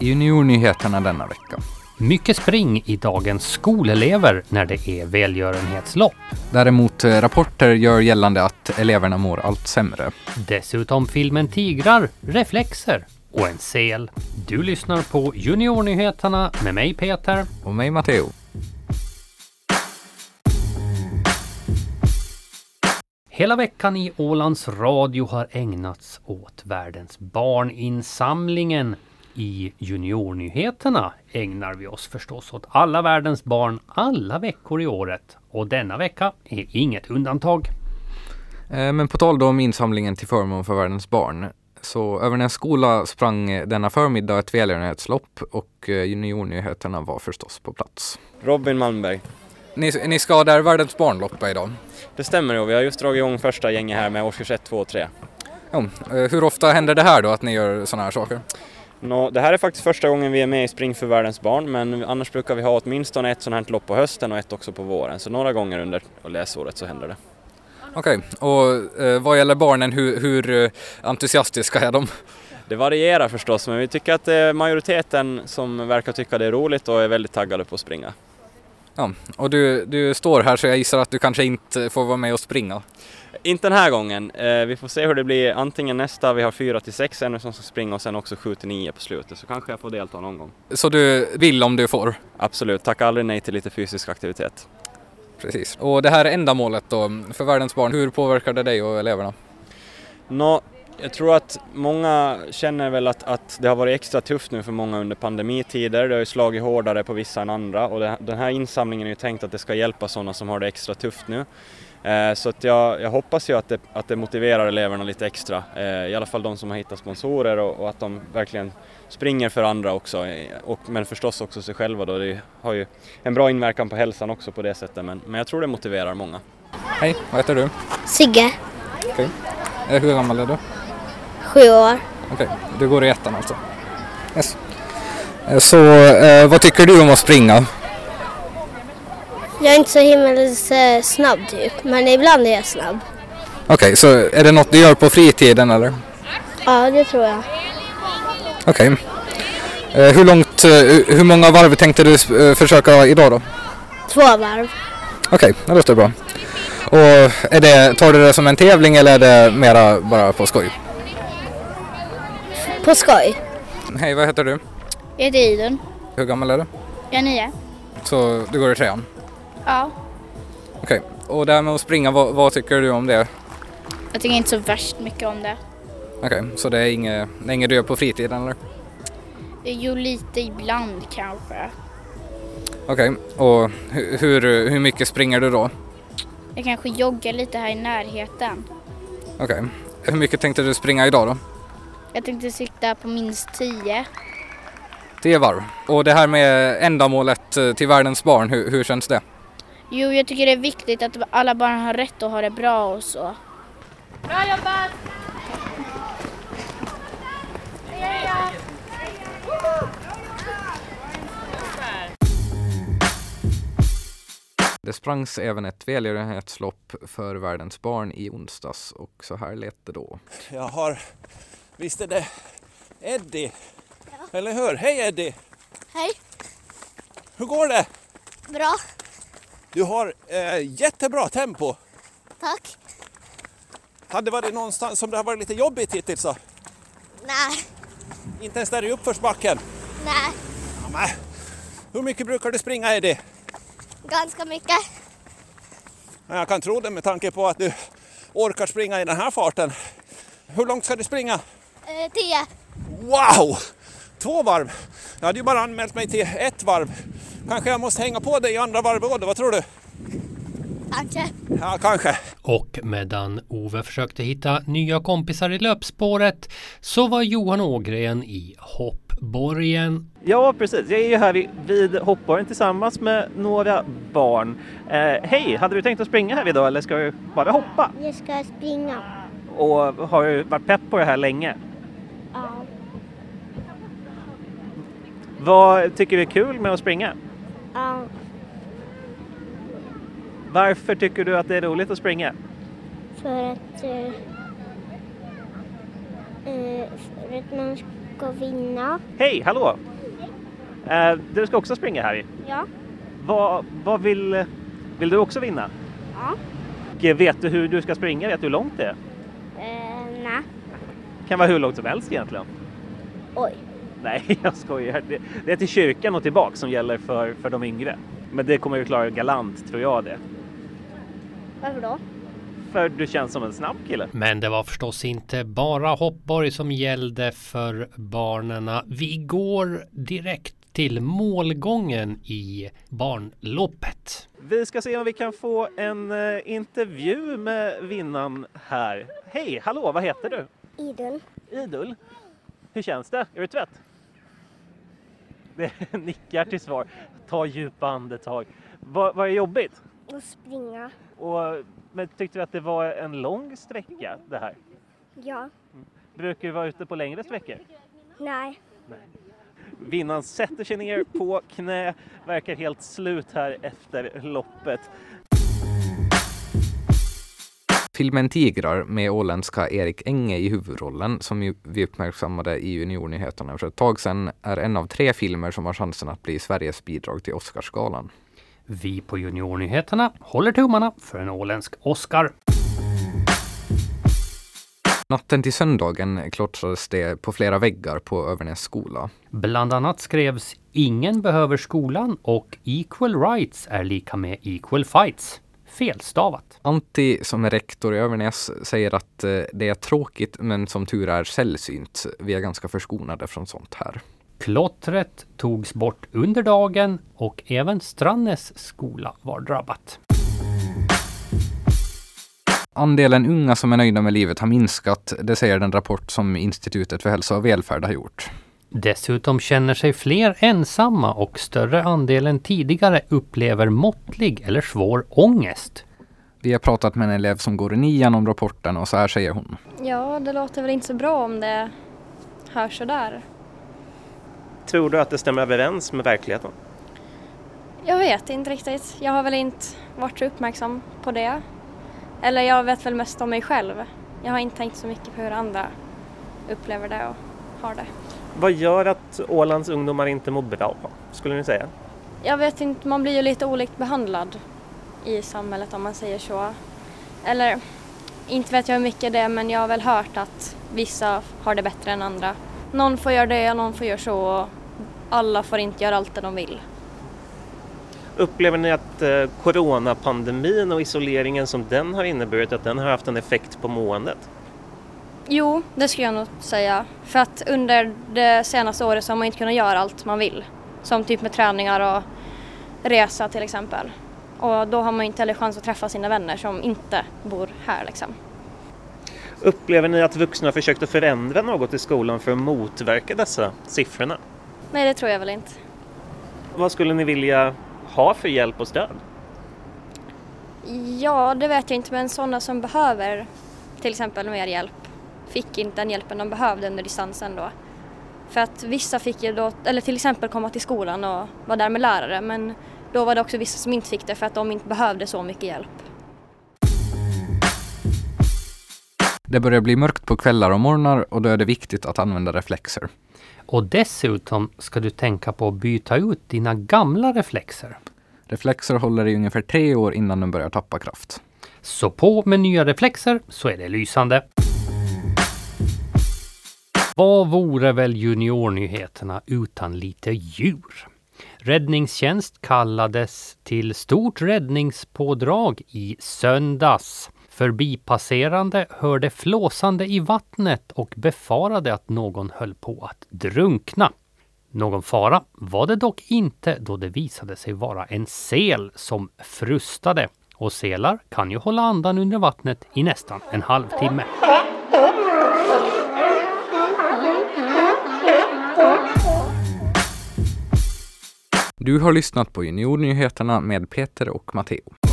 Juniornyheterna denna vecka. Mycket spring i dagens skolelever när det är välgörenhetslopp. Däremot eh, rapporter gör gällande att eleverna mår allt sämre. Dessutom filmen Tigrar, Reflexer och en sel. Du lyssnar på Juniornyheterna med mig Peter. Och mig Matteo. Hela veckan i Ålands Radio har ägnats åt världens barninsamlingen. I Juniornyheterna ägnar vi oss förstås åt alla världens barn alla veckor i året. Och denna vecka är inget undantag. Eh, Men på tal då om insamlingen till förmån för världens barn. Så över en skola sprang eh, denna förmiddag ett välgörenhetslopp och eh, juniornyheterna var förstås på plats. Robin Malmberg. Ni, ni ska där världens barnloppa idag. Det stämmer då, vi har just dragit igång första gänget här med årskurs 1, 2 och 3. Jo, eh, hur ofta händer det här då att ni gör sådana här saker? Nå, det här är faktiskt första gången vi är med i Spring för världens barn men annars brukar vi ha åtminstone ett sånt här lopp på hösten och ett också på våren så några gånger under läsåret så händer det. Okej, och eh, vad gäller barnen, hur, hur eh, entusiastiska är de? Det varierar förstås men vi tycker att det är majoriteten som verkar tycka det är roligt och är väldigt taggade på att springa. Ja, och du, du står här så jag gissar att du kanske inte får vara med och springa. Inte den här gången, Eh, vi får se hur det blir antingen nästa, vi har 4 till 6 ännu som ska springa och sen också 7 till 9 på slutet så kanske jag får delta någon gång. Så du vill om du får? Absolut, tacka aldrig nej till lite fysisk aktivitet. Precis. Och det här ändamålet då, för världens barn, hur påverkar det dig och eleverna? Nå, jag tror att många känner väl att, att det har varit extra tufft nu för många under pandemitider. Det har ju slagit hårdare på vissa än andra och det, den här insamlingen är ju tänkt att det ska hjälpa sådana som har det extra tufft nu. Eh, så att jag, jag hoppas ju att det, att det motiverar eleverna lite extra, eh, i alla fall de som har hittat sponsorer och, och att de verkligen springer för andra också, eh, och, men förstås också sig själva då. Det har ju en bra inverkan på hälsan också på det sättet, men, men jag tror det motiverar många. Hej, vad heter du? Sigge, Eh, Hur gammal är du? sju år. Okej, du går i ettan alltså? Yes. Eh, Så eh, vad tycker du om att springa? Jag är inte så himmelens eh, snabb typ, men ibland är jag snabb. Okej, så är det något du gör på fritiden eller? Ja, det tror jag. Okej. Eh, Hur långt, eh, hur många varv tänkte du eh, försöka idag då? Två varv. Okej, det låter bra. Och är det, tar du det som en tävling eller är det mera bara på skoj? På skoj. Hej, vad heter du? Jag heter Iden. Hur gammal är du? Jag är nio. Så du går i trean? Ja. Okej, och det här med att springa, vad, vad tycker du om det? Jag tycker inte så värst mycket om det. Okej, så det är inget, det är inget du gör på fritiden eller? Jo, lite ibland kanske. Okej, och hu- hur, hur mycket springer du då? Jag kanske joggar lite här i närheten. Okej, hur mycket tänkte du springa idag då? Jag tänkte sikta på minst tio. Tio varv. Och det här med ändamålet eh, till världens barn, hur, hur känns det? Jo, jag tycker det är viktigt att alla barn har rätt att ha det bra och så. Det sprangs även ett välgörenhetslopp för världens barn i onsdags och så här lät det då. Jag har... Visst är det Eddie? Eller hur? Hej Eddie! Hej. Hur går det? Bra. Du har eh, jättebra tempo. Tack. Hade det varit någonstans som det har varit lite jobbigt hittills så? Nej. Inte ens där i uppförsbacken. Nej. Ja, men, Hur mycket brukar du springa Eddie? Ganska mycket. Ja, Jag kan tro det med tanke på att du orkar springa i den här farten. Hur långt ska du springa? Eh, tio. Wow! Två varv! Jag hade ju bara anmält mig till ett varv. Kanske jag måste hänga på dig i andra varvbådet, vad tror du? Kanske. Ja, kanske. Och medan Ove försökte hitta nya kompisar i löpspåret så var Johan Ågren i hoppborgen. Ja, precis. Jag är ju här vid, vid hoppborgen tillsammans med några barn. Eh, Hej! Hade du tänkt att springa här idag eller ska du bara hoppa? Jag ska springa. Och har du varit pepp på det här länge? Ja. Vad tycker du är kul med att springa? ja. Varför tycker du att det är roligt att springa? eh, För att... för att man och vinna. Hej, hallå! Eh, du ska också springa här i. Ja. Vad, vad vill, vill du också vinna? Ja. Och vet du hur du ska springa? Vet du hur långt det är? Eh, nej. kan vara hur långt som helst egentligen. Oj. Nej, jag skojar. Det, det är till kyrkan och tillbaks som gäller för, för de yngre. Men det kommer vi klara galant, tror jag det. Varför då? För du känns som en snabb kille. Men det var förstås inte bara hoppborg som gällde för barnen. Vi går direkt till målgången i barnloppet. Vi ska se om vi kan få en eh, intervju med vinnaren här. Hej, hallå, vad heter du? Idun. Idul. Hur känns det? Är du trött? Det nickar till svar. Ta djupa andetag. Vad, vad är jobbigt? Och springa. Och, men tyckte du att det var en lång sträcka det här? Ja. Brukar du vara ute på längre sträckor? Nej. Vinnaren sätter sig ner på knä, verkar helt slut här efter loppet. Filmen Tigrar med åländska Erik Enge i huvudrollen som ju vi uppmärksammade i juniornyheterna för ett tag sedan är en av tre filmer som har chansen att bli Sveriges bidrag till Oscarsgalan. Vi på Juniornyheterna håller tummarna för en åländsk Oscar. Natten till söndagen klottrades det på flera väggar på Övernäs skola. Bland annat skrevs Ingen behöver skolan och Equal rights är lika med equal fights. Felstavat. Antti, som är rektor i Övernäs, säger att eh, det är tråkigt men som tur är sällsynt. Vi är ganska förskonade från sånt här. Klottret togs bort under dagen och även Strannäs skola var drabbat. Andelen unga som är nöjda med livet har minskat, det säger den rapport som Institutet för hälsa och välfärd har gjort. Dessutom känner sig fler ensamma och större andel än tidigare upplever måttlig eller svår ångest. Vi har pratat med en elev som går i nian om rapporten och så här säger hon. Ja, det låter väl inte så bra om det hörs sådär. Tror du att det stämmer överens med verkligheten? Jag vet inte riktigt. Jag har väl inte varit så uppmärksam på det. Eller jag vet väl mest om mig själv. Jag har inte tänkt så mycket på hur andra upplever det och har det. Vad gör att Ålands ungdomar inte mår bra, skulle ni säga? Jag vet inte, man blir ju lite olikt behandlad i samhället om man säger så. Eller, inte vet jag hur mycket det är men jag har väl hört att vissa har det bättre än andra. Någon får göra det och någon får göra så och alla får inte göra allt det de vill. Upplever ni att eh, coronapandemin och isoleringen som den har inneburit, att den har haft en effekt på måendet? Jo, det skulle jag nog säga. För att under det senaste året så har man inte kunnat göra allt man vill. Som typ med träningar och resa till exempel. Och då har man ju inte heller chans att träffa sina vänner som inte bor här liksom. Upplever ni att vuxna har försökt att förändra något i skolan för att motverka dessa siffrorna? Nej, det tror jag väl inte. Vad skulle ni vilja ha för hjälp och stöd? Ja, det vet jag inte, men sådana som behöver till exempel mer hjälp fick inte den hjälpen de behövde under distansen då. För att vissa fick ju då, eller till exempel komma till skolan och vara där med lärare, men då var det också vissa som inte fick det för att de inte behövde så mycket hjälp. Det börjar bli mörkt på kvällar och morgnar och då är det viktigt att använda reflexer. Och dessutom ska du tänka på att byta ut dina gamla reflexer. Reflexer håller i ungefär tre år innan de börjar tappa kraft. Så på med nya reflexer så är det lysande. Vad vore väl juniornyheterna utan lite djur? Räddningstjänst kallades till stort räddningspådrag i söndags. Förbipasserande hörde flåsande i vattnet och befarade att någon höll på att drunkna. Någon fara var det dock inte då det visade sig vara en sel som frustade. Och selar kan ju hålla andan under vattnet i nästan en halvtimme. Du har lyssnat på Juniornyheterna med Peter och Matteo.